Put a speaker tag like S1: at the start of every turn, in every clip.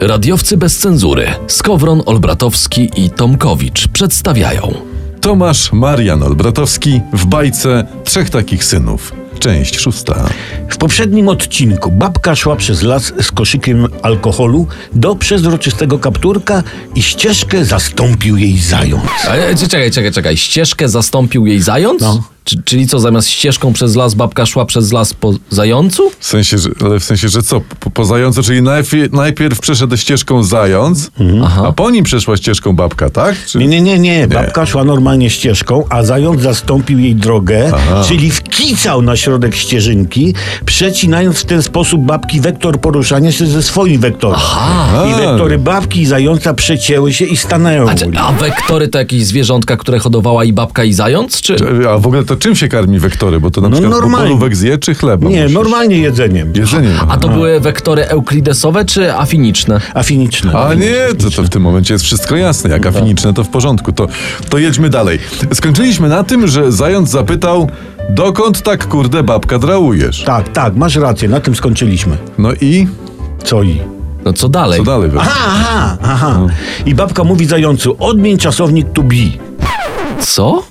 S1: Radiowcy bez cenzury Skowron Olbratowski i Tomkowicz przedstawiają
S2: Tomasz Marian Olbratowski w bajce Trzech takich synów. Część szósta.
S3: W poprzednim odcinku babka szła przez las z koszykiem alkoholu do przezroczystego kapturka i ścieżkę zastąpił jej zając.
S1: A, e, Czekaj, czekaj, czekaj. Ścieżkę zastąpił jej zając?
S3: No.
S1: Czy- czyli co, zamiast ścieżką przez las babka szła przez las po zającu?
S2: W sensie, że, ale w sensie, że co? Po, po zającu, czyli najpierw, najpierw przeszedł ścieżką zając, a po nim przeszła ścieżką babka, tak? Czy...
S3: Mhm. Nie, nie, nie, nie. Babka szła normalnie ścieżką, a zając zastąpił jej drogę, czyli wkicał na środek ścieżynki, przecinając w ten sposób babki wektor poruszania się ze swoim wektorem. I wektory babki i zająca przecięły się i stanęły.
S1: A, czy- a wektory to jakieś zwierzątka, które hodowała i babka i zając? Czy...
S2: A w ogóle to czym się karmi wektory? Bo to na przykład
S3: No normalnie.
S2: borówek zje czy chleba?
S3: Nie,
S2: musisz?
S3: normalnie jedzeniem.
S2: Jedzenie.
S1: A to były wektory euklidesowe czy afiniczne?
S3: Afiniczne.
S2: A nie, to, to w tym momencie jest wszystko jasne. Jak
S3: No.
S2: afiniczne, to w porządku. To, to jedźmy dalej. Skończyliśmy na tym, że zając zapytał, dokąd tak kurde babka drałujesz?
S3: Tak, tak, masz rację, na tym skończyliśmy.
S2: No i
S3: Co i?
S1: No co dalej?
S2: co dalej? Wek?
S3: Aha, aha, aha.
S2: No.
S3: I babka mówi zającu, odmień czasownik to be.
S1: Co?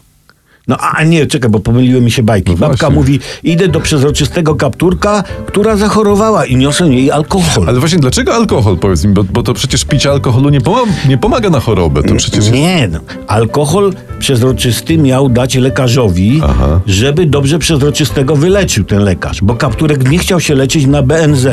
S3: No a a nie, czekaj, bo pomyliły mi się bajki.
S2: No
S3: babka
S2: właśnie.
S3: mówi, idę do przezroczystego kapturka, która zachorowała i niosę jej alkohol.
S2: Ale właśnie dlaczego alkohol, powiedz mi, bo, bo to przecież picie alkoholu nie, pomag- nie pomaga na chorobę, to przecież jest...
S3: Nie, no. alkohol przezroczysty miał dać lekarzowi, żeby dobrze przezroczystego wyleczył ten lekarz, bo kapturek nie chciał się leczyć na BNZ,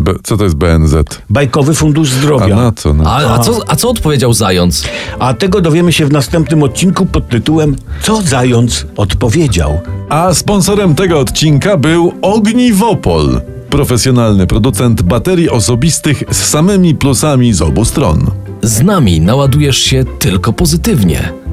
S2: B, co to jest BNZ?
S3: Bajkowy Fundusz
S2: A
S3: Zdrowia.
S2: na co? No?
S1: A, a, co, a co odpowiedział zając?
S3: A tego dowiemy się w następnym odcinku pod tytułem Co zając odpowiedział.
S2: A sponsorem tego odcinka był Ogniwopol, profesjonalny producent baterii osobistych z samymi plusami z obu stron.
S1: Z nami naładujesz się tylko pozytywnie.